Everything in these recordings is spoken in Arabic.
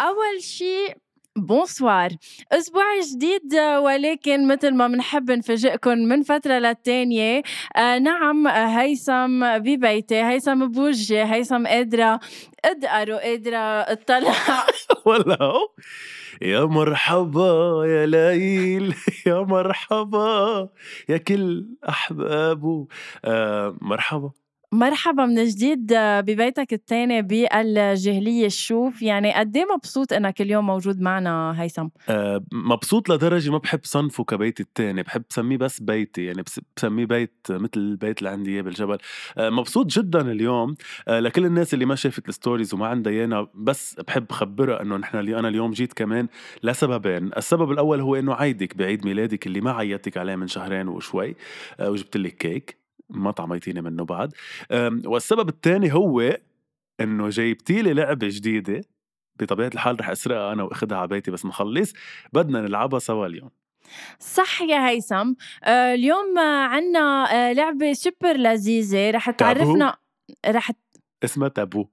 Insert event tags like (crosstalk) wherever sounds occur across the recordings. أول شيء بونسوار أسبوع جديد آه، ولكن مثل ما بنحب نفاجئكم من فترة للتانية آه نعم آه، هيثم ببيتي هيثم بوجي هيثم قادرة أدقر وقادرة اطلع (laughs) ولا يا مرحبا يا ليل يا مرحبا يا كل احبابه آه مرحبا (laughs) مرحبا من جديد آه، ببيتك الثاني بالجهلية الشوف يعني قد ايه مبسوط انك اليوم موجود معنا هيثم آه مبسوط لدرجه ما بحب صنفه كبيتي التاني بحب بسميه بس بيتي يعني بس- بسميه بيت مثل البيت اللي عندي اياه بالجبل آه مبسوط جدا اليوم آه لكل الناس اللي ما شافت الستوريز وما عندها ايانا بس بحب خبرها انه نحن اللي انا اليوم جيت كمان لسببين السبب الاول هو انه عيدك بعيد ميلادك اللي ما عيطتك عليه من شهرين وشوي آه وجبت لك كيك ما طعميتيني منه بعد آم، والسبب الثاني هو انه جايبتي لي لعبه جديده بطبيعه الحال رح اسرقها انا واخدها على بيتي بس نخلص بدنا نلعبها سوا اليوم صح يا هيثم آه، اليوم عندنا لعبة سوبر لذيذة رح تعرفنا رح اسمها تابو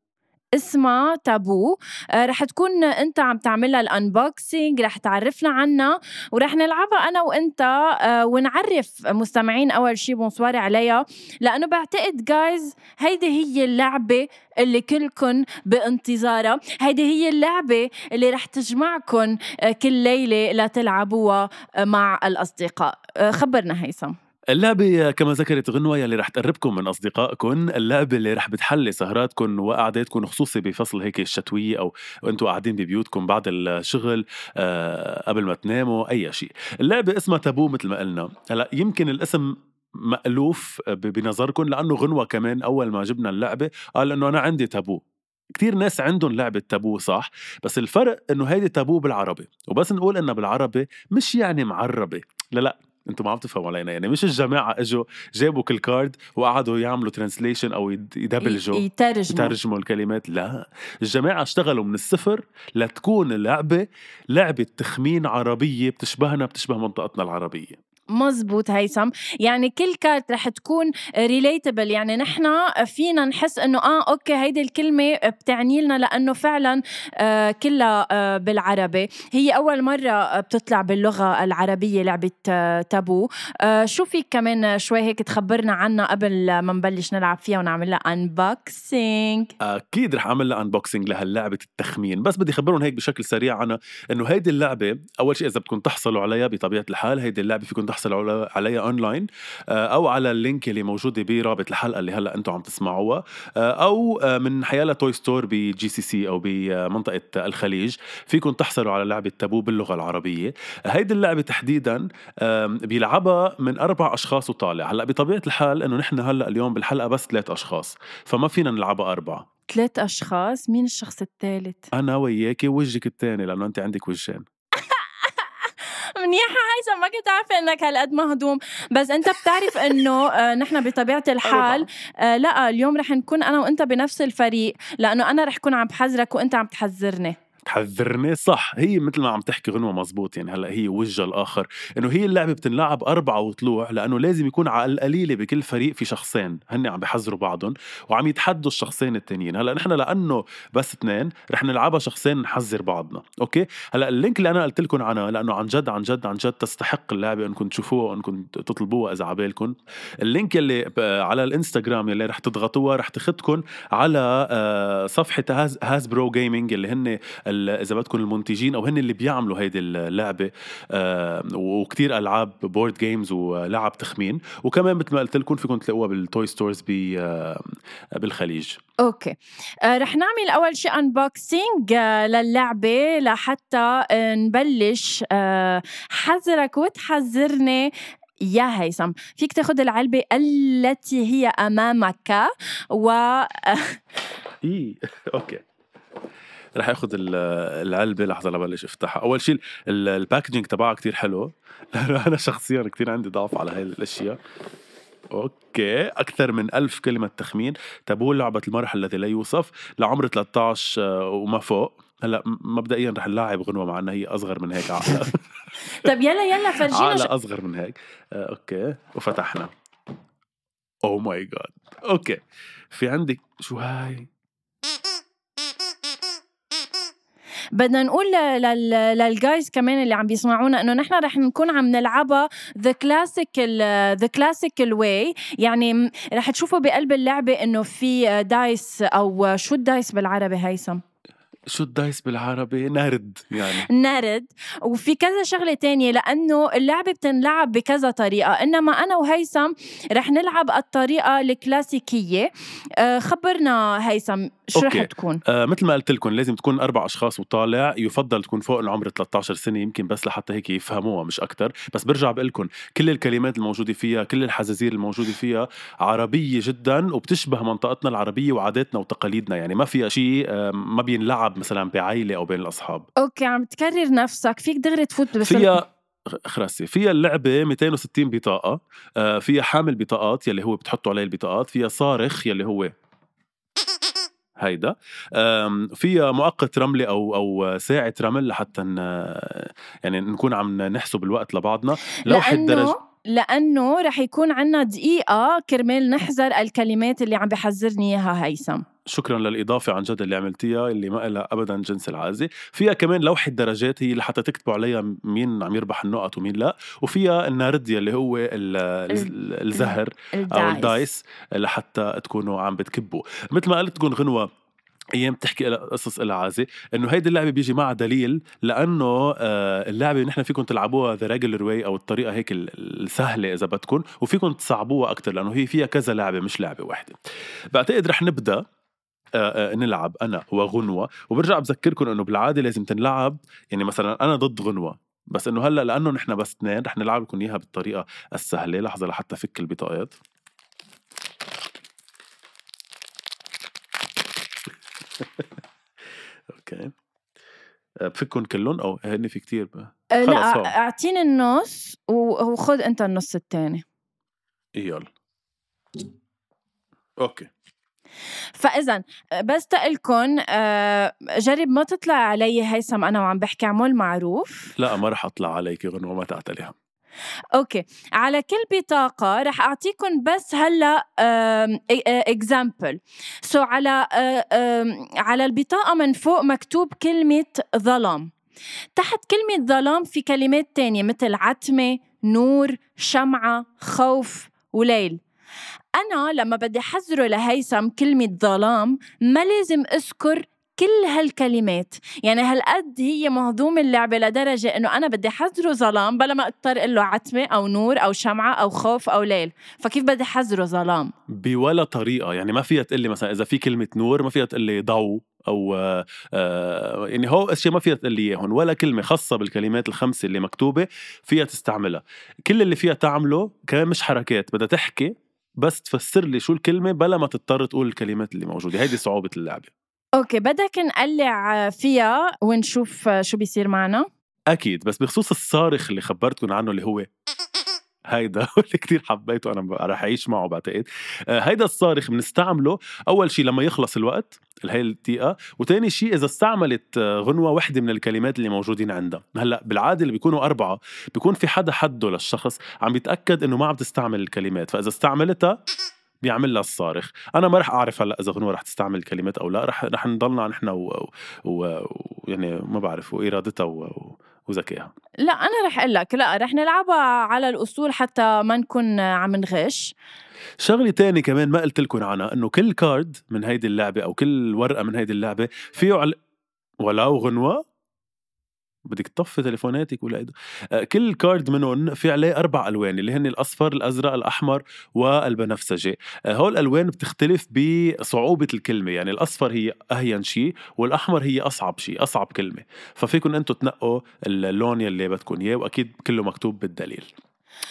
اسمها تابو آه، رح تكون انت عم تعملها الانبوكسينج رح تعرفنا عنها ورح نلعبها انا وانت آه، ونعرف مستمعين اول شي بونسوار عليها لانه بعتقد جايز هيدي هي اللعبه اللي كلكن بانتظارها هيدي هي اللعبه اللي رح تجمعكن آه، كل ليله لتلعبوها آه، مع الاصدقاء آه، خبرنا هيثم اللعبة كما ذكرت غنوة يلي رح تقربكم من أصدقائكم اللعبة اللي رح بتحلي سهراتكم وقعداتكم خصوصي بفصل هيك الشتوية أو وأنتوا قاعدين ببيوتكم بعد الشغل آه قبل ما تناموا أي شيء اللعبة اسمها تابو مثل ما قلنا هلا يمكن الاسم مألوف ب- بنظركم لأنه غنوة كمان أول ما جبنا اللعبة قال إنه أنا عندي تابو كتير ناس عندهم لعبة تابو صح بس الفرق إنه هيدي تابو بالعربي وبس نقول إنها بالعربي مش يعني معربة لا لا انتم ما عم تفهموا علينا يعني مش الجماعه اجوا جابوا كل كارد وقعدوا يعملوا ترانسليشن او يد- يدبلجوا يترجموا يترجموا الكلمات لا الجماعه اشتغلوا من الصفر لتكون اللعبه لعبه تخمين عربيه بتشبهنا بتشبه منطقتنا العربيه مزبوط هيثم يعني كل كارت رح تكون ريليتبل يعني نحن فينا نحس انه اه اوكي هيدي الكلمه بتعني لنا لانه فعلا آه كلها آه بالعربي هي اول مره بتطلع باللغه العربيه لعبه آه تابو آه شو فيك كمان شوي هيك تخبرنا عنها قبل ما نبلش نلعب فيها ونعمل لها انبوكسينج اكيد رح اعمل لها انبوكسنج لهاللعبه التخمين بس بدي اخبرهم هيك بشكل سريع عنها انه هيدي اللعبه اول شيء اذا بدكم تحصلوا عليها بطبيعه الحال هيدي اللعبه فيكم تحصلوا على- عليها اونلاين آه، او على اللينك اللي موجوده برابط الحلقه اللي هلا انتم عم تسمعوها آه، او آه، من حيالة توي ستور بجي سي سي او بمنطقه آه، الخليج فيكم تحصلوا على لعبه تابو باللغه العربيه هيدي اللعبه تحديدا آم، بيلعبها من اربع اشخاص وطالع هلا بطبيعه الحال انه نحن هلا اليوم بالحلقه بس ثلاث اشخاص فما فينا نلعبها اربعه ثلاث اشخاص مين الشخص الثالث انا وياكي وجهك الثاني لانه انت عندك وجهين منيحة هيثم ما كنت عارفة انك هالقد مهضوم بس انت بتعرف انه آه، نحن بطبيعة الحال آه، لا اليوم رح نكون انا وانت بنفس الفريق لانه انا رح كون عم بحذرك وانت عم تحذرني تحذرني صح هي مثل ما عم تحكي غنوه مزبوط يعني هلا هي وجه الاخر انه هي اللعبه بتنلعب اربعه وطلوع لانه لازم يكون على القليله بكل فريق في شخصين هن عم بحذروا بعضهم وعم يتحدوا الشخصين التانيين هلا نحن لانه بس اثنين رح نلعبها شخصين نحذر بعضنا اوكي هلا اللينك اللي انا قلت لكم عنها لانه عن جد عن جد عن جد تستحق اللعبه انكم تشوفوها وانكم تطلبوها اذا عبالكم اللينك اللي ب- على الانستغرام اللي رح تضغطوها رح تخدكم على آه، صفحه هاز هازبرو جيمنج اللي هن ال- اذا بدكم المنتجين او هن اللي بيعملوا هيدي اللعبه آه، وكتير العاب بورد جيمز ولعب تخمين وكمان مثل ما قلت لكم فيكم تلاقوها بالتوي ستورز ب- آه، بالخليج اوكي آه، رح نعمل اول شيء انبوكسينج للعبة لحتى آه، نبلش آه، حذرك وتحذرني يا هيثم فيك تاخذ العلبة التي هي امامك و (laughs) ايه اوكي رح اخذ ال- العلبه لحظه لبلش افتحها اول شيء ال- (laughs) الباكجينج تبعها كتير حلو لانه انا شخصيا كتير عندي ضعف على هاي الاشياء اوكي اكثر من ألف كلمه تخمين تابو لعبه المرح الذي لا يوصف لعمر 13 وما فوق هلا م- مبدئيا رح نلاعب غنوه مع انها هي اصغر من هيك (laughs) على طب طيب يلا يلا فرجينا على ش... اصغر من هيك آه، اوكي وفتحنا Oh او ماي جاد اوكي في عندك شو هاي بدنا نقول لل... للجايز كمان اللي عم بيسمعونا انه نحن رح نكون عم نلعبها ذا كلاسيك ذا كلاسيك واي يعني م- رح تشوفوا بقلب اللعبه انه في آه, دايس او آه, شو الدايس بالعربي هيثم شو الدايس بالعربي نرد يعني نرد وفي كذا شغله تانية لانه اللعبه بتنلعب بكذا طريقه انما انا وهيثم رح نلعب الطريقه الكلاسيكيه آه، خبرنا هيثم شو رح أوكي. تكون آه مثل ما قلت لكم لازم تكون اربع اشخاص وطالع يفضل تكون فوق العمر 13 سنه يمكن بس لحتى هيك يفهموها مش اكثر بس برجع بقول لكم كل الكلمات الموجوده فيها كل الحزازير الموجوده فيها عربيه جدا وبتشبه منطقتنا العربيه وعاداتنا وتقاليدنا يعني ما فيها شيء آه، ما بينلعب مثلا بعائله او بين الاصحاب اوكي عم تكرر نفسك فيك دغري تفوت بس فيها خراسي فيها اللعبة 260 بطاقة آه، فيها حامل بطاقات يلي هو بتحطوا عليه البطاقات فيها صارخ يلي هو هيدا آم، فيها مؤقت رملة أو أو ساعة رمل لحتى ن... يعني نكون عم نحسب الوقت لبعضنا لوحة درجة لانه لانه رح يكون عنا دقيقه كرمال نحذر الكلمات اللي عم بحذرني اياها هيثم شكرا للإضافة عن جد اللي عملتيها اللي ما لها أبدا جنس العازي فيها كمان لوحة درجات هي لحتى تكتبوا عليها مين عم يربح النقط ومين لا وفيها النارد يلي هو ال... ال... الزهر او الدايس لحتى تكونوا عم بتكبوا مثل ما قلت تكون غنوه ايام بتحكي لها قصص لها عازه انه هيدي اللعبه بيجي معها دليل لانه آه، اللعبه نحن فيكم تلعبوها ذا ريجولر واي او الطريقه هيك ال- السهله اذا بدكم وفيكم تصعبوها اكثر لانه هي فيها كذا لعبه مش لعبه واحده بعتقد رح نبدا آه، آه، نلعب انا وغنوه وبرجع بذكركم انه بالعاده لازم تنلعب يعني مثلا انا ضد غنوه بس انه هلا لانه نحن بس اثنين رح نلعب لكم اياها بالطريقه السهله لحظه لحتى فك البطاقات اوكي آه، بفكهم كلهم او هن في كتير بقى. آه، لا خلص، هون. اعطيني النص و- وخذ انت النص الثاني يلا اوكي فاذا بس تقلكن آه، جرب ما تطلع علي هيثم انا وعم بحكي اعمل معروف لا ما رح اطلع عليك غنوه ما تعتليها اوكي على كل بطاقه رح اعطيكم بس هلا اكزامبل سو على آه، آم، على البطاقه من فوق مكتوب كلمه ظلام تحت كلمه ظلام في كلمات تانية مثل عتمه نور شمعه خوف وليل انا لما بدي حذره لهيثم كلمه ظلام ما لازم اذكر كل هالكلمات يعني هالقد هي مهضوم اللعبة لدرجة إنه أنا بدي حذره ظلام بلا ما أضطر أقول له عتمة أو نور أو شمعة أو خوف أو ليل فكيف بدي حذره ظلام بولا طريقه يعني ما فيها تقلي مثلا اذا في كلمه نور ما فيها تقلي ضوء او آه، آه، يعني هو اشياء ما فيها تقلي اياهم ولا كلمه خاصه بالكلمات الخمسه اللي مكتوبه فيها تستعملها كل اللي فيها تعمله كمان مش حركات بدها تحكي بس تفسر لي شو الكلمه بلا ما تضطر تقول الكلمات اللي موجوده هيدي صعوبه اللعبه أوكي بدك نقلع فيها ونشوف شو بيصير معنا اكيد بس بخصوص الصارخ اللي خبرتكم عنه اللي هو هيدا هو (laughs) اللي كتير حبيته انا ب- رح اعيش معه بعتقد آه، هيدا الصارخ بنستعمله اول شيء لما يخلص الوقت هي الدقيقه وتاني شيء اذا استعملت آه، غنوه وحده من الكلمات اللي موجودين عندها هلا بالعاده اللي بيكونوا اربعه بيكون في حدا حده للشخص عم بيتاكد انه ما عم تستعمل الكلمات فاذا استعملتها بيعمل لها الصارخ انا ما رح اعرف هلا اذا غنوه رح تستعمل الكلمات او لا رح رح نضلنا نحن و... و... و... يعني ما بعرف وارادتها و... و... وذكائها لا أنا رح أقول لك لا رح نلعبها على الأصول حتى ما نكون عم نغش شغلة تاني كمان ما قلت لكم عنها انه كل كارد من هيدي اللعبة او كل ورقة من هيدي اللعبة فيه عل... ولو غنوة بدك تطفي تليفوناتك ولا إيده. آه، كل كارد منهم في عليه اربع الوان اللي هن الاصفر الازرق الاحمر والبنفسجي آه، هول الالوان بتختلف بصعوبه الكلمه يعني الاصفر هي اهين شيء والاحمر هي اصعب شيء اصعب كلمه ففيكم انتم تنقوا اللون يلي بدكم اياه واكيد كله مكتوب بالدليل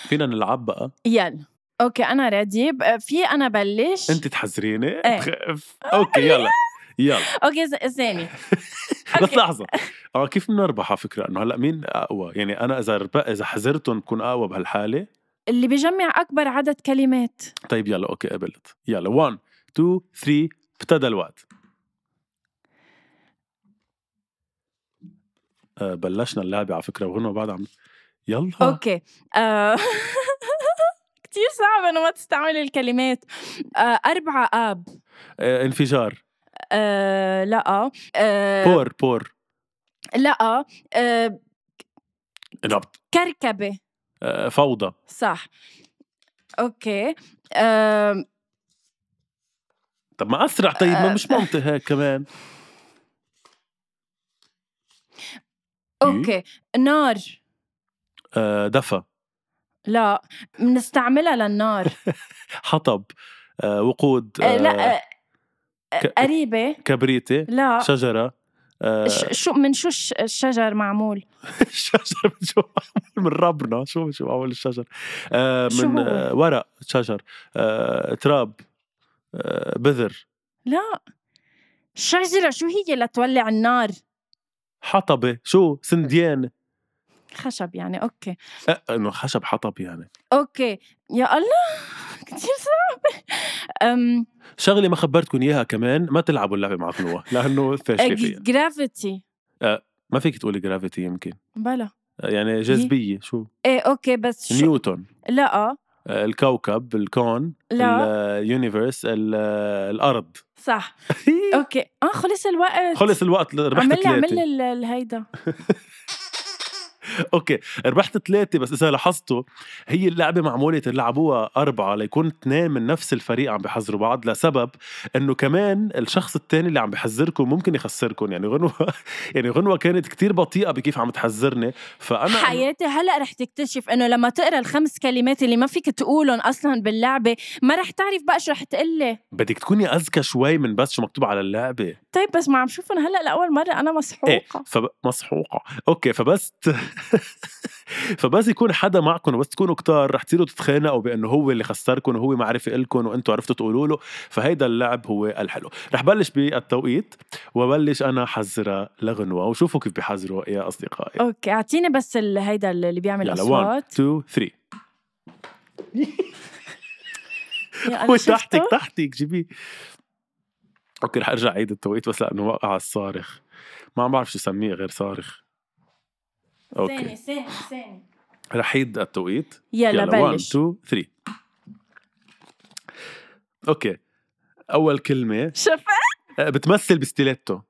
فينا نلعب بقى يلا أوكي أنا ريدي في أنا بلش انت تحذريني ايه. تخاف اوكي (laughs) يلا يلا أوكي ز- ثاني بس أوكي. لحظه اه كيف بنربح على فكره انه هلا مين اقوى يعني انا اذا رب... اذا حذرتهم بكون اقوى بهالحاله اللي بجمع اكبر عدد كلمات طيب يلا اوكي قبلت يلا 1 2 3 ابتدى الوقت آه، بلشنا اللعبة على فكرة وهن بعد عم يلا اوكي آه، (laughs) كتير صعب انه ما تستعمل الكلمات آه، أربعة آب آه، انفجار آه، لا آه، بور بور لا آه، نبض كركبة آه، فوضى صح اوكي آه، طب ما اسرع طيب ما آه. مش منطق هيك كمان اوكي نار آه، دفى لا بنستعملها (laughs) للنار حطب آه، وقود آه، آه، لا آه، ك- قريبة كبريتة لا شجرة آه، (laughs) ش- شو من شو الش- الشجر معمول الشجر من شو معمول؟ من ربنا شو شو معمول الشجر آه شو من هو؟ آه ورق شجر آه تراب آه بذر لا الشجرة شو هي لتولع النار حطبة شو سنديان خشب يعني اوكي آه، انه خشب حطب يعني اوكي يا الله (laughs) كثير صعب أم شغلة ما خبرتكم اياها كمان ما تلعبوا اللعبة مع غنوة لانه فاشلة فيها جرافيتي ما فيك تقولي جرافيتي يمكن بلا آه، يعني جاذبية شو ايه اوكي بس شو نيوتن لا آه، الكوكب الكون لا اليونيفرس ال- آه، الارض صح اوكي اه خلص الوقت خلص الوقت ربحت عمل لي عمل لي ثلاثة ال- الهيدا اوكي ربحت ثلاثة بس إذا لاحظتوا هي اللعبة معمولة تلعبوها أربعة ليكون اثنين من نفس الفريق عم بيحذروا بعض لسبب إنه كمان الشخص الثاني اللي عم بيحذركم ممكن يخسركم يعني غنوة (laughs) يعني غنوة كانت كتير بطيئة بكيف عم تحذرني فأنا حياتي هلا رح تكتشف انه لما تقرا الخمس كلمات اللي ما فيك تقولهم اصلا باللعبه ما رح تعرف بقى شو رح تقلي بدك تكوني أذكى شوي من بس شو مكتوب على اللعبة طيب بس ما عم شوفهم هلا لاول مره انا ايه مسحوقه فمسحوقة اوكي فبس ت... (laughs) فبس يكون حدا معكم وبس تكونوا كتار رح تصيروا تتخانقوا بانه هو اللي خسركم وهو معرفة إلكم وانتم عرفتوا تقولوا له فهيدا اللعب هو الحلو رح بلش بالتوقيت وبلش انا حذرها لغنوة وشوفوا كيف بحذروا يا اصدقائي اوكي اعطيني بس ال- هيدا اللي بيعمل يلا 1 اصوات 2 3 يا الله، (laughs) وتحتك شفتوا؟ تحتك جيبيه اوكي رح ارجع عيد التوقيت بس لانه وقع الصارخ ما عم بعرف شو اسميه غير صارخ ثاني اوكي ثاني ثاني رح عيد التوقيت يلا يلا 1 بلش 2 3 اوكي اول كلمه شفت آه، بتمثل بستيلاتو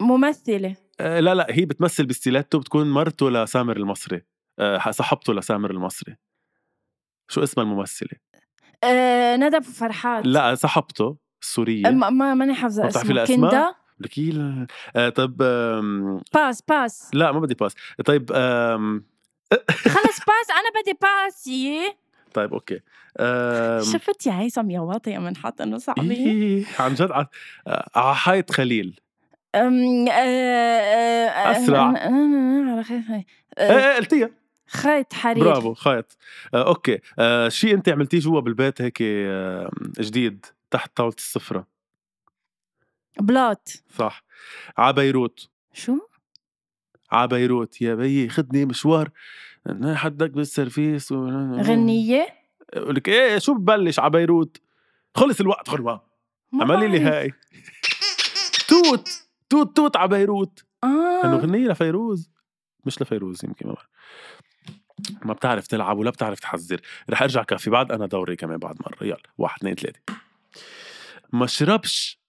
ممثلة آه، لا لا هي بتمثل بستيلاتو بتكون مرته لسامر المصري آه، صاحبته لسامر المصري شو اسمها الممثله أه ندى أبو فرحات آه، لا صاحبته السوريه ما ما ماني حافظة ما بتعرفي اسمه الأسماء؟ كندا لك هي ال- آه، طب آم، باس باس لا ما بدي باس طيب آم، خلص باس أنا بدي باس يي طيب اوكي آم، شفت يا هيثم يا واطي يا منحط إنه صعبين إيه، عن جد ع- آه، عحايد خليل أم، أه، أه، أه، أسرع. أنا- أنا- أنا على خير. ايه أه، إيه، قلتيها خيط حرير برافو خيط آه، اوكي آه، شيء انت عملتيه جوا بالبيت هيك آه، جديد تحت طاوله السفره بلاط صح ع بيروت شو؟ ع بيروت يا بيي خدني مشوار أنا حدك بالسرفيس و... غنية؟ لك ايه شو ببلش ع بيروت خلص الوقت خلوة ما اعملي لي بعرف. هاي توت توت توت ع بيروت انه آه غنية لفيروز مش لفيروز يمكن ما بعرف ما بتعرف تلعب ولا بتعرف تحذر رح ارجع كافي بعد انا دوري كمان بعد مره يلا واحد اثنين ثلاثه ما شربش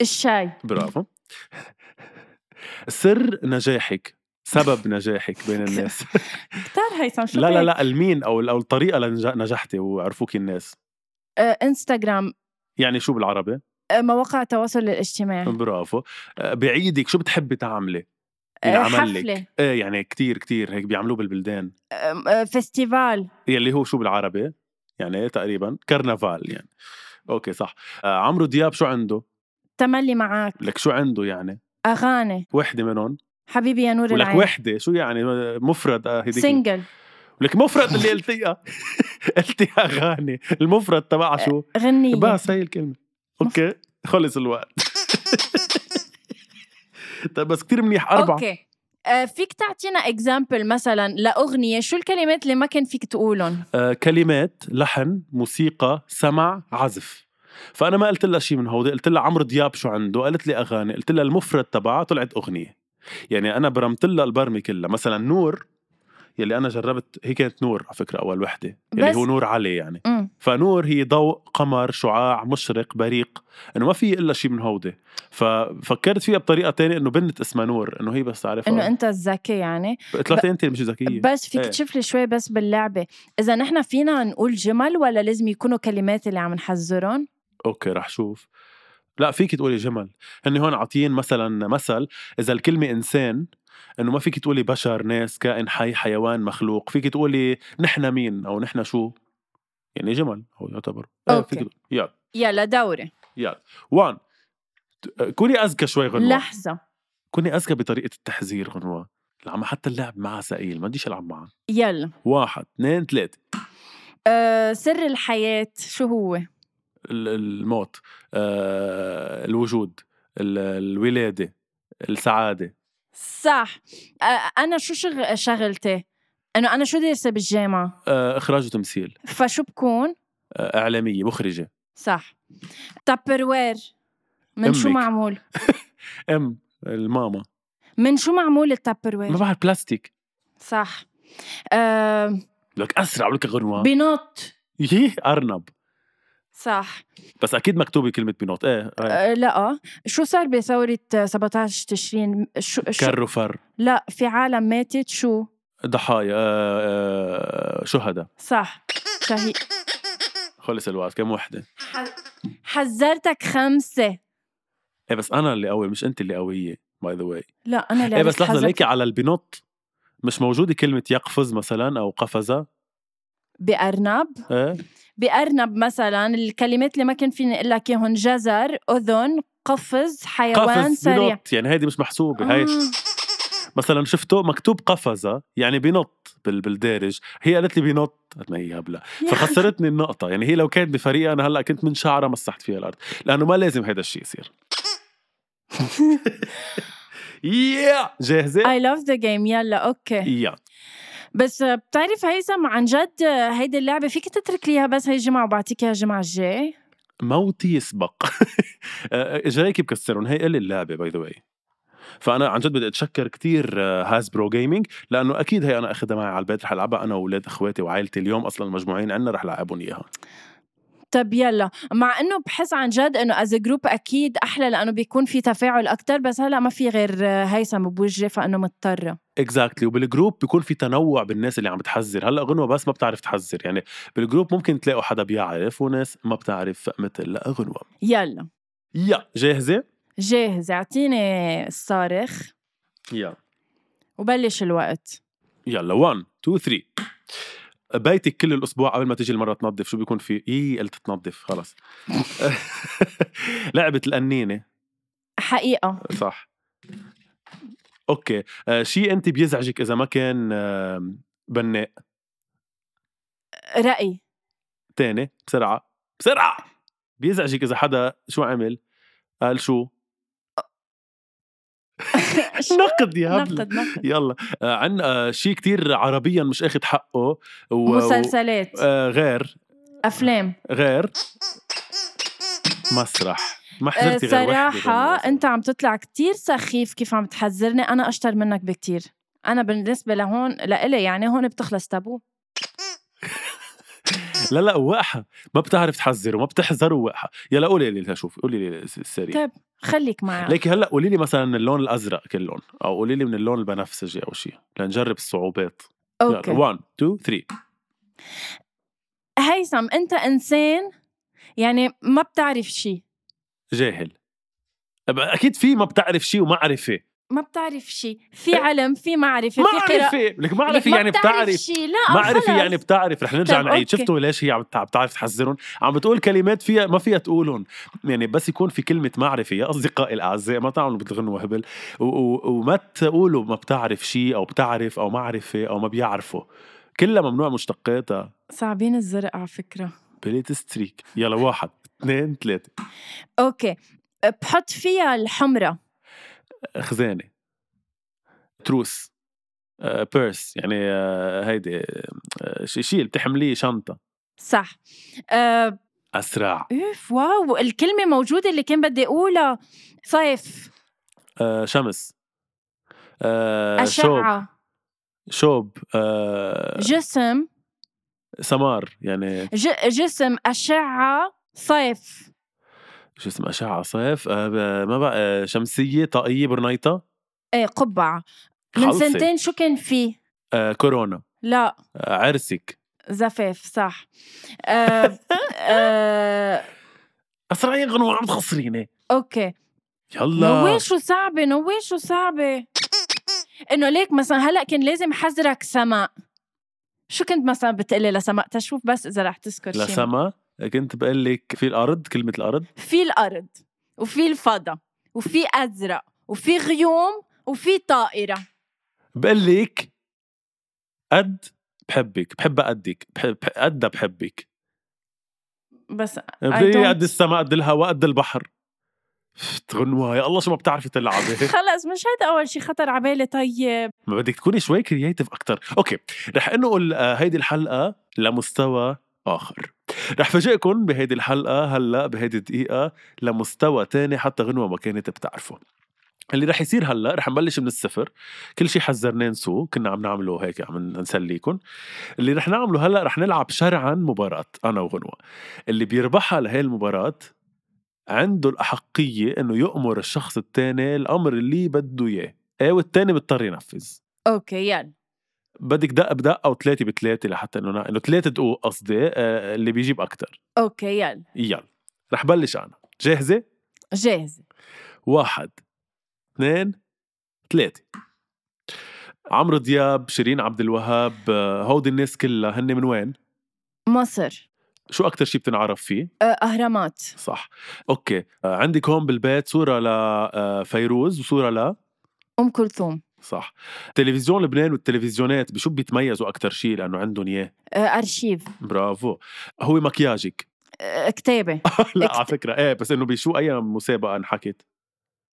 الشاي برافو سر نجاحك سبب نجاحك بين الناس كتار هيثم شو لا لا بك؟ لا المين او او الطريقه لنجحتي وعرفوك الناس أه، انستغرام يعني شو بالعربي أه، مواقع التواصل الاجتماعي برافو آه، بعيدك شو بتحبي تعملي أه، ينعمل لك. حفلة ايه يعني كتير كتير هيك بيعملوه بالبلدان أم، أه، فيستيفال يلي هو شو بالعربي يعني تقريبا كرنفال يعني اوكي صح آه، عمرو دياب شو عنده تملي معك لك شو عنده يعني أغاني وحده منهم حبيبي يا نور ولك العين وحده شو يعني آه، مفرد آه، هديك سنجل لك مفرد اللي قلتيها (laughs) قلتي اغاني المفرد تبعها شو غنية بس هي الكلمه اوكي خلص الوقت (laughs) طيب بس كتير منيح اربعه أوكي آه، فيك تعطينا اكزامبل مثلا لاغنيه شو الكلمات اللي ما كان فيك تقولهم آه، كلمات لحن موسيقى سمع عزف فانا ما قلت لها شيء من هودي قلت لها عمرو دياب شو عنده قالت لي اغاني قلت لها المفرد تبعها طلعت اغنيه يعني انا برمت لها البرمه كلها مثلا نور يلي انا جربت هي كانت نور على فكره اول وحده يلي بس- هو نور علي يعني مم. فنور هي ضوء قمر شعاع مشرق بريق انه ما في الا شيء من هودي ففكرت فيها بطريقه تانية انه بنت اسمها نور انه هي بس تعرفها انه انت الذكي يعني قلت لها انت اللي مش ذكيه بس فيك إيه. تشوف لي شوي بس باللعبه اذا نحن فينا نقول جمل ولا لازم يكونوا كلمات اللي عم نحذرهم اوكي رح شوف لا فيك تقولي جمل هن هون عاطيين مثلا مثل اذا الكلمه انسان انه ما فيك تقولي بشر ناس كائن حي حيوان مخلوق فيك تقولي نحن مين او نحن شو يعني جمل هو يعتبر إيه، أوكي. فيك تقول- يلا يلا دوري يلا وان ت- كوني اذكى شوي غنوه لحظه كوني اذكى بطريقه التحذير غنوه لما حتى اللعب معها ثقيل ما بديش العب معها يلا واحد اثنين ثلاثة أه سر الحياه شو هو ال- الموت آه، الوجود ال- الولادة السعادة صح أه انا شو شغ... شغلتي انه انا شو دارسه بالجامعه آه، إخراج وتمثيل فشو بكون آه، إعلامية مخرجة صح تابروير من شو أمك. معمول أم الماما من شو معمول التابروير ما بعرف بلاستيك صح أه لك أسرع ولك غنوة بنط يي أرنب صح بس أكيد مكتوبة كلمة بنوت إيه إيه. أه لا شو صار بثورة آه، 17 تشرين شو, شو كر وفر لا في عالم ماتت شو ضحايا آه، آه، شهداء صح شهي... خلص الوقت كم وحدة حذرتك خمسة إيه بس أنا اللي قوي مش أنت اللي قوية باي ذا واي لا أنا اللي إيه بس عرفت لحظة حذر- ليكي على البنوت مش موجودة كلمة يقفز مثلا أو قفزة بأرنب إيه بأرنب مثلا الكلمات اللي ما كان فيني أقول لك إياهم جزر أذن قفز حيوان قفز سريع بنط يعني هيدي مش محسوبة هاي آه. مثلا شفته مكتوب قفزة يعني بنط بال- بالدارج هي قالت لي بنط قلت ما هي هبلة فخسرتني النقطة يعني هي لو كانت بفريقها أنا هلأ كنت من شعرها مسحت فيها الأرض لأنه ما لازم هيدا الشيء يصير يا جاهزة؟ I love the game يلا أوكي يا بس آه، بتعرف هيثم عن جد آه، هيدي اللعبة فيك تترك لي إياها بس هي الجمعة وبعطيك إياها الجمعة الجاي موتي يسبق (laughs) آه، جايك بكسرهم هي قلي اللعبة باي ذا واي فانا عن جد بدي آه، اتشكر كثير هاسبرو جيمنج لانه اكيد هي انا اخذها معي على البيت رح العبها انا واولاد اخواتي وعائلتي اليوم اصلا المجموعين عندنا رح العبهم اياها طب طيب، يلا مع انه بحس عن جد انه از جروب اكيد احلى لانه بيكون في تفاعل اكثر بس هلا ما في غير هيثم بوجهي فانه مضطره اكزاكتلي وبالجروب بيكون في تنوع بالناس اللي عم بتحذر هلا غنوه بس ما بتعرف تحذر يعني بالجروب ممكن تلاقوا حدا بيعرف وناس ما بتعرف مثل غنوه يلا يا جاهزه جاهز اعطيني الصارخ يا وبلش الوقت يلا 1 2 3 بيتك كل الاسبوع قبل ما تيجي المره تنظف شو بيكون في اي قلت تنظف خلص (laughs) لعبه القنينه حقيقه صح اوكي آه شيء انت بيزعجك اذا ما كان آه بناء راي (laughs) تاني بسرعة بسرعة بيزعجك إذا حدا شو عمل قال شو نقد يا هبل نقد نقد يلا آه عن آه شيء كتير عربيا مش اخد حقه و... مسلسلات و... آه غير افلام غير مسرح ما آه، حضرتي غير وحدة صراحه غنوة. انت عم تطلع كتير سخيف كيف عم تحذرني انا اشطر منك بكتير انا بالنسبه لهون لإلي يعني هون بتخلص تابو لا لا وقحة ما بتعرف تحذر وما بتحذر وقحة يلا قولي لي شوف قولي لي السريع طيب. خليك معي ليكي هلا قولي لي مثلا اللون الازرق كل لون او قولي لي من اللون البنفسجي او شيء لنجرب الصعوبات اوكي 1 2 3 هيثم انت انسان يعني ما بتعرف شيء جاهل أب- اكيد في ما بتعرف شيء ومعرفه ما بتعرف شيء في إيه؟ علم في معرفه في قراءة معرفه لك معرفه ما يعني بتعرف بتعرف شيء لا معرفة خلص. يعني بتعرف رح نرجع طيب، نعيد أوكي. شفتوا ليش هي عم بتع- بتعرف تحذرهم عم بتقول كلمات فيها ما فيها تقولهم يعني بس يكون في كلمة معرفة يا أصدقائي الأعزاء ما تعملوا بتغنوا هبل و- و- وما تقولوا ما بتعرف شيء أو بتعرف أو معرفة أو ما بيعرفوا كلها ممنوع مشتقاتها صعبين الزرق على فكره بليت ستريك يلا واحد اثنين ثلاثة اوكي بحط فيها الحمرة خزانة تروس آه، بيرس يعني آه، هيدي آه، شي- شيء بتحمليه شنطه صح أه اسرع اوف واو الكلمة موجودة اللي كان بدي اقولها صيف آه، شمس آه، شوب أشعة شوب آه، جسم سمار يعني ج- جسم أشعة صيف شو اسم اشعه صيف آه، ب- ما بقى آه، شمسيه طاقيه برنيطه ايه قبعة من خلصي. سنتين شو كان فيه؟ آه، كورونا لا آه، عرسك زفاف صح أه أه اسرعين غنوه عم تخسريني اوكي يلا نوي شو صعبة نوي شو صعبة انه ليك مثلا هلا كان لازم حذرك سماء شو كنت مثلا بتقلي لسماء تشوف بس اذا رح تذكر شيء لسما كنت بقول لك في الارض كلمه الارض في الارض وفي الفضاء وفي ازرق وفي غيوم وفي طائره بقول لك قد بحبك بحب قدك بحب قد بحبك بس بقلي don't- قد السما قد الهواء قد البحر تغنوها يا الله شو ما بتعرفي تلعبي (laughs) خلص مش هيدا اول شيء خطر على بالي طيب ما بدك تكوني شوي كرييتيف اكثر اوكي رح انقل آه، هيدي الحلقه لمستوى اخر رح فاجئكم بهيدي الحلقه هلا بهيدي الدقيقه لمستوى تاني حتى غنوه ما كانت بتعرفه اللي رح يصير هلا رح نبلش من الصفر كل شيء حذرناه نسوه كنا عم نعمله هيك عم نسليكم اللي رح نعمله هلا رح نلعب شرعا مباراه انا وغنوه اللي بيربحها لهي المباراه عنده الاحقيه انه يامر الشخص الثاني الامر اللي بده اياه ايه والتاني بيضطر ينفذ اوكي يلا بدك دقه بدقه او ثلاثه بثلاثه لحتى انه نا- انه ثلاثه دقوق قصدي آه، اللي بيجيب اكثر اوكي يلا يلا رح بلش انا جاهزه؟ جاهزه واحد اثنين ثلاثه عمرو دياب شيرين عبد الوهاب آه، هودي الناس كلها هن من وين؟ مصر شو اكثر شيء بتنعرف فيه؟ آه، اهرامات صح اوكي آه، عندك هون بالبيت صوره لفيروز وصوره ل ام كلثوم صح تلفزيون لبنان والتلفزيونات بشو بيتميزوا اكثر شيء لانه عندهم اياه آه، ارشيف برافو هو مكياجك آه، كتابه (laughs) لا اكت- على فكره ايه بس انه بشو اي مسابقه انحكت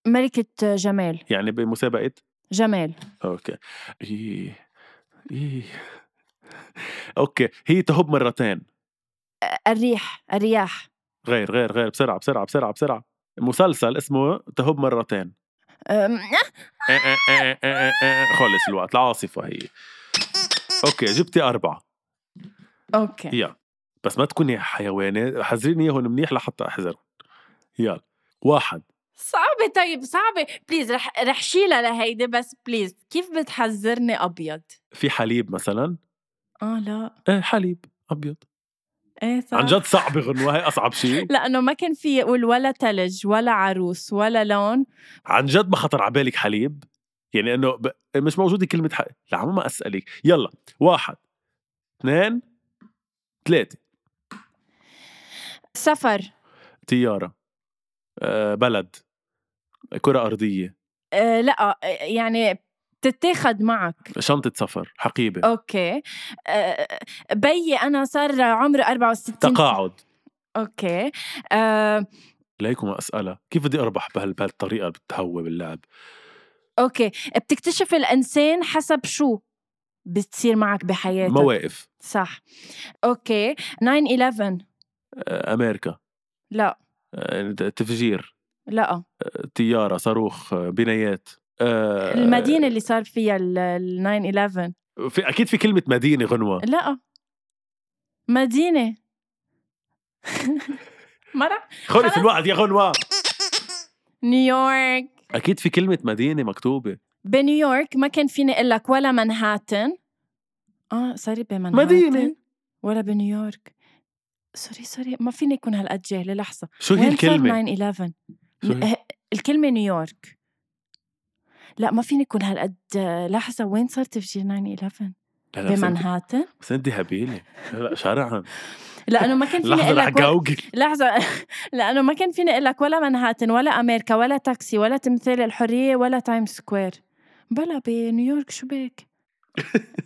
ملكه أه، جمال يعني بمسابقه جمال اوكي إيه. إيه. اوكي هي تهب مرتين آه، الريح الرياح غير غير غير بسرعه بسرعه بسرعه بسرعه مسلسل اسمه تهب مرتين آم، إيه إيه إيه إيه إيه إيه. خلص الوقت العاصفه هي اوكي جبتي اربعه اوكي يلا بس ما تكوني حيوانه حذريني اياهم منيح لحتى احذر يلا واحد صعبة طيب صعبة بليز رح رح شيلها لهيدي بس بليز كيف بتحذرني ابيض؟ في حليب مثلا اه لا ايه حليب ابيض ايه صح عن جد صعب غنوه هي اصعب شيء لانه ما كان في يقول ولا تلج ولا عروس ولا لون عن جد ما خطر على بالك حليب يعني انه ب... مش موجوده كلمه حق لا عم ما اسالك يلا واحد اثنين ثلاثه سفر طياره آه بلد كره ارضيه آه لا آه، يعني بتتاخد معك شنطه سفر حقيبه اوكي آه بيي انا صار عمري 64 سنة. تقاعد اوكي آه ليكم اسئله كيف بدي اربح بهال- بهالطريقه بتهوى باللعب اوكي بتكتشف الانسان حسب شو بتصير معك بحياتك مواقف صح اوكي 9/11 آه امريكا لا آه تفجير لا آه، طياره صاروخ آه، بنايات آه المدينة اللي صار فيها ال- ال 9/11 في اكيد في كلمه مدينه غنوه لا مدينة (laughs) مرة خلص خلص. الوقت يا غنوه نيويورك اكيد في كلمه مدينه مكتوبه بنيويورك ما كان فيني اقول لك ولا منهاتن اه سوري بمنهاتن مدينة. ولا بنيويورك سوري سوري ما فيني اكون هالقد جاهله لحظه شو هي وين صار الكلمه 9/11 شو هي؟ ه- الكلمه نيويورك لا ما فيني اكون هالقد لحظه وين صار تفجير 9/11 لا لا، بس أنت- بمنهاتن بس انت هبيله لا شرعا لانه ما كان فيني لحظه اقول رح لك ولا- جوجل (laughs) لحظه لانه ما كان فيني اقول لك ولا منهاتن ولا امريكا ولا تاكسي ولا تمثال الحريه ولا تايم سكوير بلا بنيويورك شو بك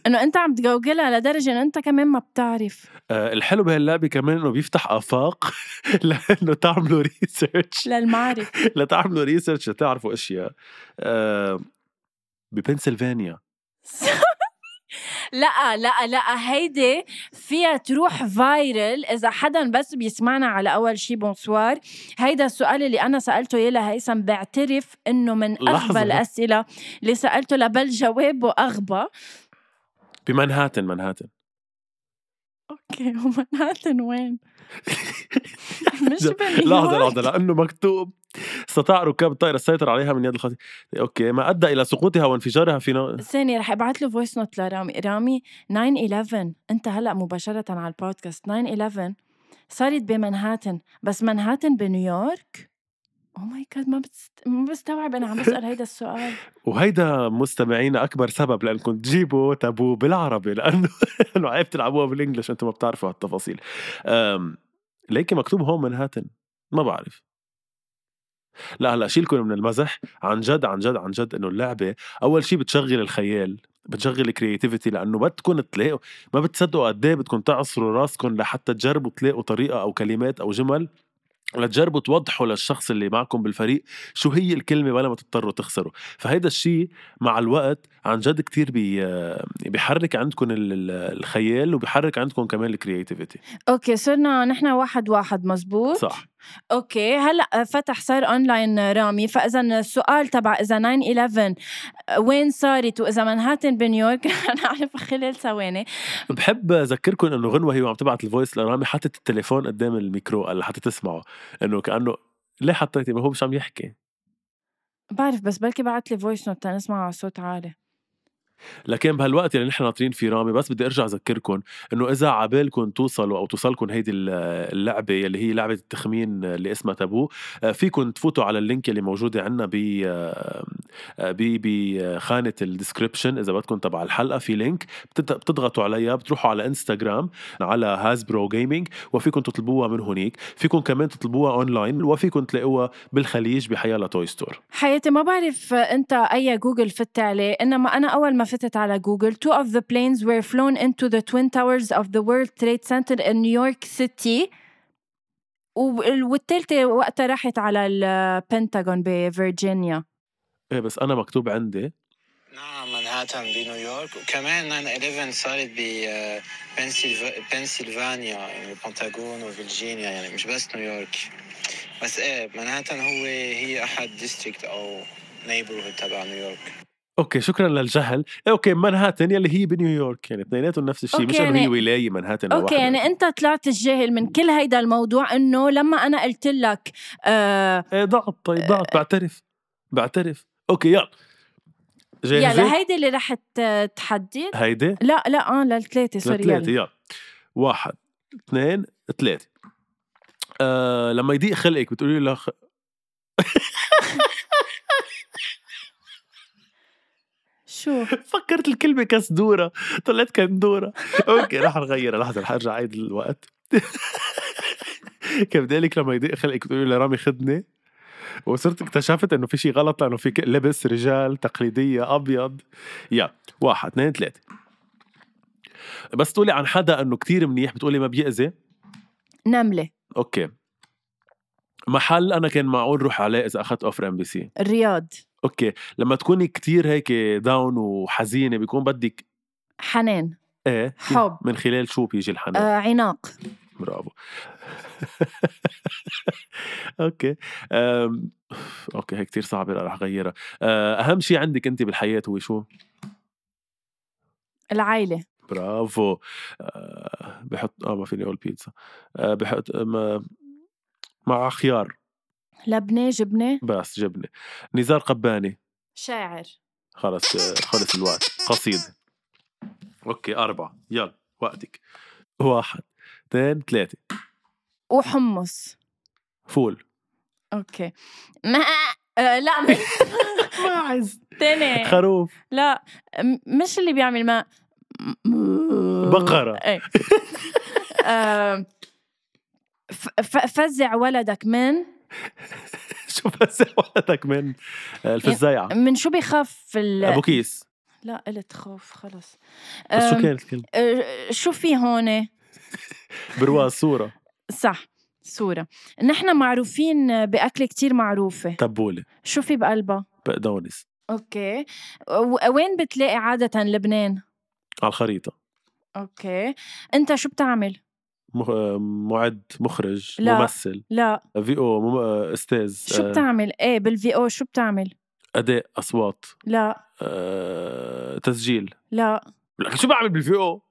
انه انت عم تجوجلها لدرجه انه انت كمان ما بتعرف آه، الحلو بهاللعبه كمان انه بيفتح (laughs) افاق لانه تعملوا ريسيرش (laughs) للمعرفه لتعملوا ريسيرش لتعرفوا اشياء آه، ببنسلفانيا (laughs) لا لا لا هيدي فيها تروح فايرل اذا حدا بس بيسمعنا على اول شي بونسوار هيدا السؤال اللي انا سالته يا لهيثم بعترف انه من لحظة. اغبى الاسئله اللي سالته لبل جوابه اغبى بمنهاتن منهاتن اوكي (laughs) ومنهاتن (laughs) وين مش بنيويورك لحظة لحظة لأنه مكتوب استطاع ركاب الطائرة السيطرة عليها من يد الخطير أوكي ما أدى إلى سقوطها وانفجارها في نو... ثانية رح ابعت له فويس نوت لرامي، رامي 9/11 أنت هلا مباشرة على البودكاست 9/11 صارت بمنهاتن، بس منهاتن بنيويورك؟ او ماي جاد ما بتست... ما بستوعب انا عم بسال هيدا (laughs) السؤال وهيدا مستمعينا أكبر سبب لأنكم تجيبوا تابو بالعربي لأنه (laughs) لأنه عيب تلعبوها بالإنجلش أنتم ما بتعرفوا هالتفاصيل أم... ليكي مكتوب هون منهاتن ما بعرف لا هلا شيلكم من المزح عن جد عن جد عن جد انه اللعبه اول شيء بتشغل الخيال بتشغل الكرياتيفيتي لانه بدكم تلاقوا ما بتصدقوا قد ايه بدكم تعصروا راسكم لحتى تجربوا تلاقوا طريقه او كلمات او جمل لتجربوا توضحوا للشخص اللي معكم بالفريق شو هي الكلمه بلا ما تضطروا تخسروا فهيدا الشيء مع الوقت عن جد كتير بي بيحرك عندكم ال- ال- الخيال وبيحرك عندكم كمان الكرياتيفيتي اوكي صرنا نحن واحد واحد مزبوط صح اوكي هلا آه، فتح صار اونلاين رامي فاذا السؤال تبع اذا 9/11 آه، وين صارت واذا منهاتن بنيويورك (laughs) رح نعرفها خلال ثواني بحب اذكركم انه غنوه هي وعم تبعت الفويس لرامي حطت التليفون قدام الميكرو قال لحتى تسمعه انه كانه ليه حطيتي ما هو مش عم يحكي بعرف بس بلكي بعت لي فويس نوت تنسمع على صوت عالي لكن بهالوقت اللي نحن ناطرين فيه رامي بس بدي ارجع اذكركم انه اذا عبالكم توصلوا او توصلكم هيدي ال- اللعبه اللي هي لعبه التخمين اللي اسمها تابو آه، فيكم تفوتوا على اللينك اللي موجوده عندنا ب آه، آه، ب بخانه الديسكربشن اذا بدكم تبع الحلقه في لينك بتت- بتضغطوا عليها بتروحوا على انستغرام على هازبرو جيمنج وفيكم تطلبوها من هونيك فيكم كمان تطلبوها اونلاين وفيكم تلاقوها بالخليج بحيالا توي ستور حياتي ما بعرف آه، انت اي جوجل فت عليه انما انا اول ما فتت على جوجل two of the planes were flown into the twin towers of the World Trade Center in New York City وال- والتالتة وقتها راحت على البنتاغون بفيرجينيا ايه بس انا مكتوب عندي نعم منهاتن بنيويورك وكمان 9/11 صارت ببنسلفانيا يعني البنتاغون وفرجينيا يعني مش بس نيويورك بس ايه منهاتن هو هي احد ديستريكت او نيبرهود تبع نيويورك اوكي شكرا للجهل إيه، اوكي منهاتن يلي هي بنيويورك يعني اثنيناتهم نفس الشيء مش أوكي، انه هي يعني- ولايه منهاتن اوكي يعني انت طلعت الجاهل من كل هيدا الموضوع انه لما انا قلت لك آه ايه ضغط طيب ضغط بعترف بعترف اوكي يلا جاهزه يلا هيدي اللي رح تحدي هيدي لا لا اه للثلاثة سوري يلا. ثلاثة يلا واحد اثنين ثلاثة آه لما يضيق خلقك بتقولي له خ... شو فكرت الكلمة كسدورة طلعت كندورة اوكي رح نغيرها لحظة رح ارجع عيد الوقت كان بدي لك لما يضيق خلقك بتقولي لرامي خدني وصرت اكتشفت انه في شيء غلط لانه في ك- لبس رجال تقليدية ابيض يا واحد اثنين ثلاثة بس تقولي عن حدا انه كتير منيح بتقولي ما بيأذي نملة اوكي محل انا كان معقول روح عليه اذا اخذت اوفر ام بي سي الرياض اوكي لما تكوني كتير هيك داون وحزينه بيكون بدك حنان ايه حب. من خلال شو بيجي الحنان آه عناق برافو (laughs) اوكي أم... اوكي هي كتير صعبه لا رح اغيرها أه، اهم شيء عندك انت بالحياه هو شو العائلة برافو أه، بحط اه ما فيني اقول بيتزا أه، بحط ما... مع خيار لبنة جبنة بس جبنه نزار قباني شاعر خلص أه، خلص الوقت قصيده اوكي اربعه يلا وقتك واحد اثنين ثلاثه وحمص (laughs) فول اوكي ما آه لا (laughs) م- ماعز تاني خروف لا م- مش اللي بيعمل ماء م- (laughs) بقرة. (laughs) ايه آه، ف- ف- فزع ولدك من شو بس ولدك من الفزايعة من شو بيخاف ال... ابو كيس لا قلت خوف خلص بس شو آم، كانت الكلمة؟ آه، شو في هون برواز صورة صح صورة نحن معروفين بأكلة كتير معروفة تبولة شو في بقلبها؟ بقدونس اوكي و- وين بتلاقي عادة لبنان؟ على الخريطه اوكي انت شو بتعمل؟ مخ- آه، معد مخرج لا. ممثل لا في او مم... استاذ شو آه، بتعمل؟ ايه بالفي او شو بتعمل؟ اداء اصوات لا آه، تسجيل لا لك شو بعمل بالفي او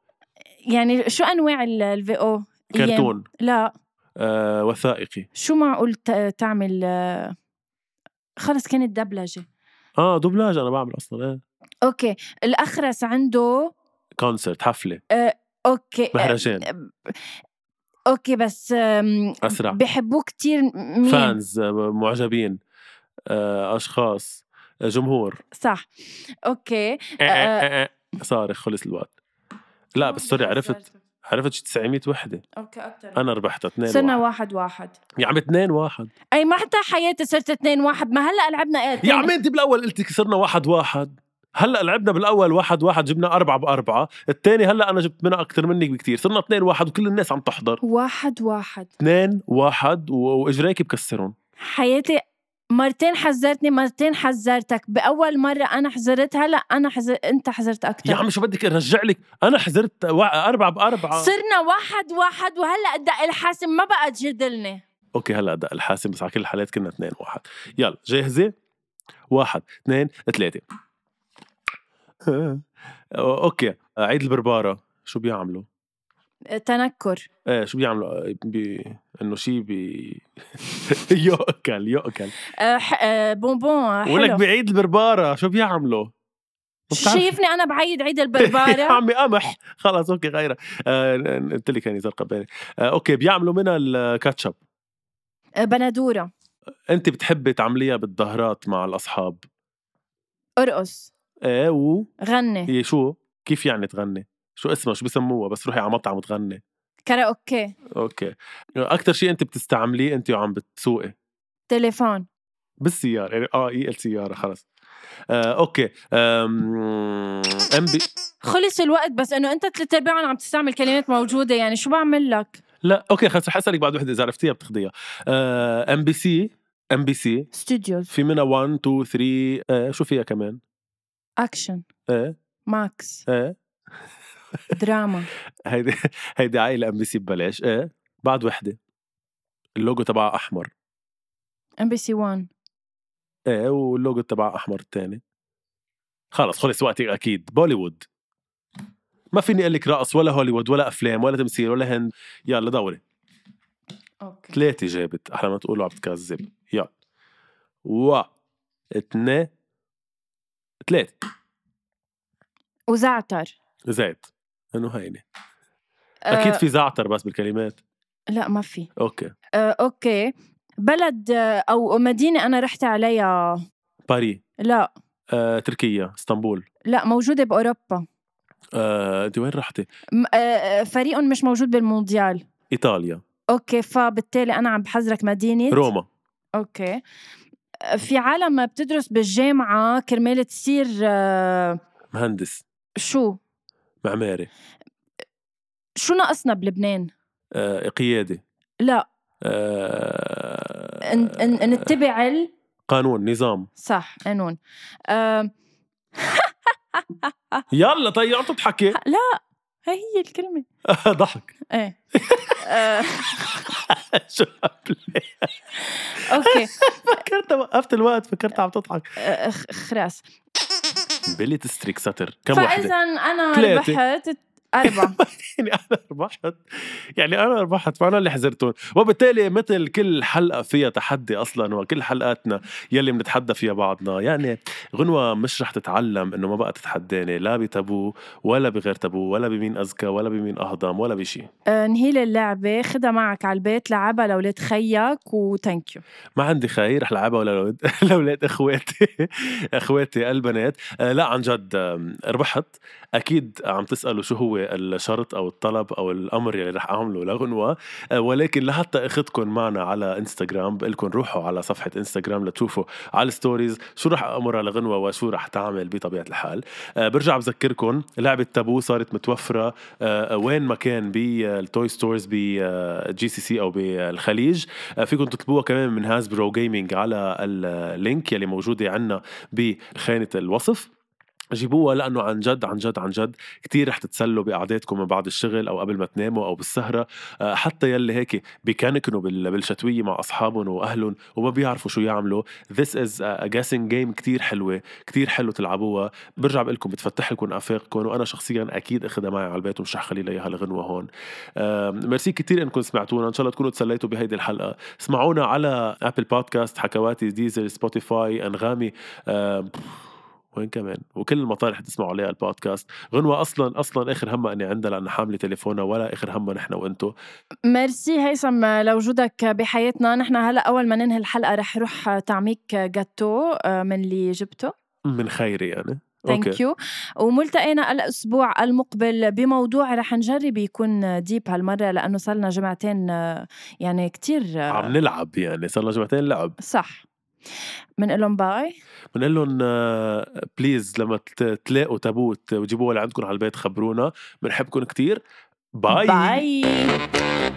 يعني شو انواع الفي او؟ كرتون لا آه، وثائقي شو معقول ت- تعمل آه، خلص كانت دبلجة اه دوبلاج انا بعمل اصلا ايه اوكي الاخرس عنده كونسرت حفله آه، اوكي آه، مهرجان اوكي بس آم، اسرع بحبوه كتير م- مين؟ فانز آه، معجبين آه، اشخاص آه، جمهور صح اوكي إيه، آه، صارخ خلص الوقت لا بس سوري عرفت عرفت شي 900 وحده اوكي اكثر انا ربحت 2 طيب. صرنا واحد واحد واحد يا عم 2 واحد اي ما حتى حياتي صرت اثنين واحد ما هلا لعبنا ايه يا اتنين- عم يعني انت بالاول قلتي صرنا واحد واحد هلا لعبنا بالاول واحد واحد جبنا أربعة بأربعة الثاني هلا أنا جبت منها أكثر منك بكثير صرنا اثنين واحد وكل الناس عم تحضر واحد واحد اثنين واحد و- وإجريك بكسرهم حياتي مرتين حذرتني مرتين حذرتك باول مره انا حذرت هلا انا حذر انت حذرت اكثر يا عم شو بدك أرجع لك أنا حزرت وا- أربعة بأربعة صرنا واحد واحد وهلا دق الحاسم ما بقى تجادلني أوكي هلا دق الحاسم بس على كل الحالات كنا اثنين واحد يلا جاهزة واحد اثنين ثلاثة أه، أوكي عيد البربارة شو بيعملوا؟ آه، تنكر ايه شو بيعملوا بي... انه شيء بي (laughs) يؤكل يؤكل أه ح... أه بونبون آه، ولك حلو بعيد البرباره شو بيعملوا؟ بتعرف- شايفني انا بعيد عيد (laughs) يا البرباره عمي قمح خلص اوكي غيرها آه، قلت لك يعني زرقاء بالي آه، اوكي بيعملوا منها الكاتشب آه، بندوره انت بتحبي تعمليها بالظهرات مع الاصحاب ارقص ايه و غني هي شو كيف يعني تغني؟ شو اسمها شو بسموها بس روحي على مطعم تغني كراوكي اوكي اكثر شيء انت بتستعمليه انت وعم بتسوقي تليفون بالسياره يعني اه اي السياره خلص آه، اوكي آم، ام بي خلص الوقت بس انه انت ثلاث ارباعهم عم تستعمل كلمات موجوده يعني شو بعمل لك؟ لا اوكي خلص رح اسالك بعد وحده اذا عرفتيها بتاخديها ام بي سي ام بي سي ستوديوز في منها 1 2 3 آه، شو فيها كمان؟ اكشن ايه ماكس ايه دراما هيدي (laughs) هيدي عائله ام بي سي ببلاش ايه بعد وحده اللوجو تبعها احمر ام بي سي 1 ايه واللوجو تبعها احمر الثاني خلص خلص وقتي اكيد بوليوود ما فيني اقول لك رقص ولا هوليوود ولا افلام ولا تمثيل ولا هند يلا دوري اوكي ثلاثة جابت أحلى ما تقولوا عم بتكذب يلا و اتنين ثلاثة وزعتر زيت انه هيني آه، اكيد في زعتر بس بالكلمات لا ما في اوكي آه، اوكي بلد آه، او مدينه انا رحت عليها باري لا آه، تركيا اسطنبول لا موجوده باوروبا آه، انت وين رحتي م- آه، آه، فريق مش موجود بالمونديال ايطاليا اوكي فبالتالي انا عم بحذرك مدينه روما اوكي آه، في عالم بتدرس بالجامعه كرمال تصير آه، مهندس شو معماري شو ناقصنا بلبنان آه، قيادي لا آه، ان ان نتبع ال قانون نظام صح قانون آه، يلا طيب عم تضحكي (laughs) هاي هي الكلمه ضحك (laughs) ايه آه، شو اوكي فكرت وقفت الوقت فكرت عم تضحك آه، خ- خراس بلي تستريك ساتر كم وحده فاذا انا ثلاثة. ربحت اربعه (laughs) يعني انا ربحت يعني انا ربحت فانا اللي حزرتهم وبالتالي مثل كل حلقه فيها تحدي اصلا وكل حلقاتنا يلي بنتحدى فيها بعضنا يعني غنوه مش رح تتعلم انه ما بقى تتحداني لا بتابو ولا بغير تابو ولا بمين اذكى ولا بمين اهضم ولا بشي آه، نهيل اللعبه خدها معك على البيت لعبها لاولاد خيك وثانك يو ما عندي خي رح لعبها ولا (laughs) لولاد لولاد اخواتي اخواتي البنات آه، لا عن جد آم، ربحت اكيد عم تسالوا شو هو هو الشرط او الطلب او الامر يلي رح اعمله لغنوه آه، ولكن لحتى اخذكم معنا على انستغرام بقلكم روحوا على صفحه انستغرام لتشوفوا على الستوريز شو رح امرها لغنوه وشو رح تعمل بطبيعه الحال آه، برجع بذكركم لعبه تابو صارت متوفره آه، وين ما كان بالتوي ستورز بجي سي سي او بالخليج آه، فيكم تطلبوها كمان من هازبرو جيمنج على اللينك يلي موجوده عندنا بخانه الوصف جيبوها لانه عن جد عن جد عن جد كتير رح تتسلوا بقعداتكم من بعد الشغل او قبل ما تناموا او بالسهره آه، حتى يلي هيك بكنكنوا بال- بالشتويه مع اصحابهم واهلهم وما بيعرفوا شو يعملوا This is a guessing game كتير حلوه كتير حلو تلعبوها برجع بقول لكم بتفتح لكم افاقكم وانا شخصيا اكيد اخذها معي على البيت ومش رح خلي لي اياها الغنوه هون آم، ميرسي كتير انكم سمعتونا ان شاء الله تكونوا تسليتوا بهيدي الحلقه اسمعونا على ابل بودكاست حكواتي ديزل سبوتيفاي انغامي آم، وين كمان وكل المطارح اللي تسمعوا عليها البودكاست غنوة أصلا أصلا آخر همها أني عندها لأنها حاملة تليفونها ولا آخر همها نحن وأنتو ميرسي هيثم آه، لوجودك بحياتنا نحن هلا اول ما ننهي الحلقه رح روح تعميك آه، جاتو من اللي جبته من خيري يعني ثانك يو وملتقينا الاسبوع المقبل بموضوع رح نجرب يكون ديب هالمره لانه صرنا جمعتين آه، يعني كتير آه، عم نلعب يعني صار لنا جمعتين لعب صح بنقول لهم باي بنقول لهم بليز لما ت- تلاقوا تابوت وتجيبوها لعندكم على البيت خبرونا بنحبكم كتير باي باي.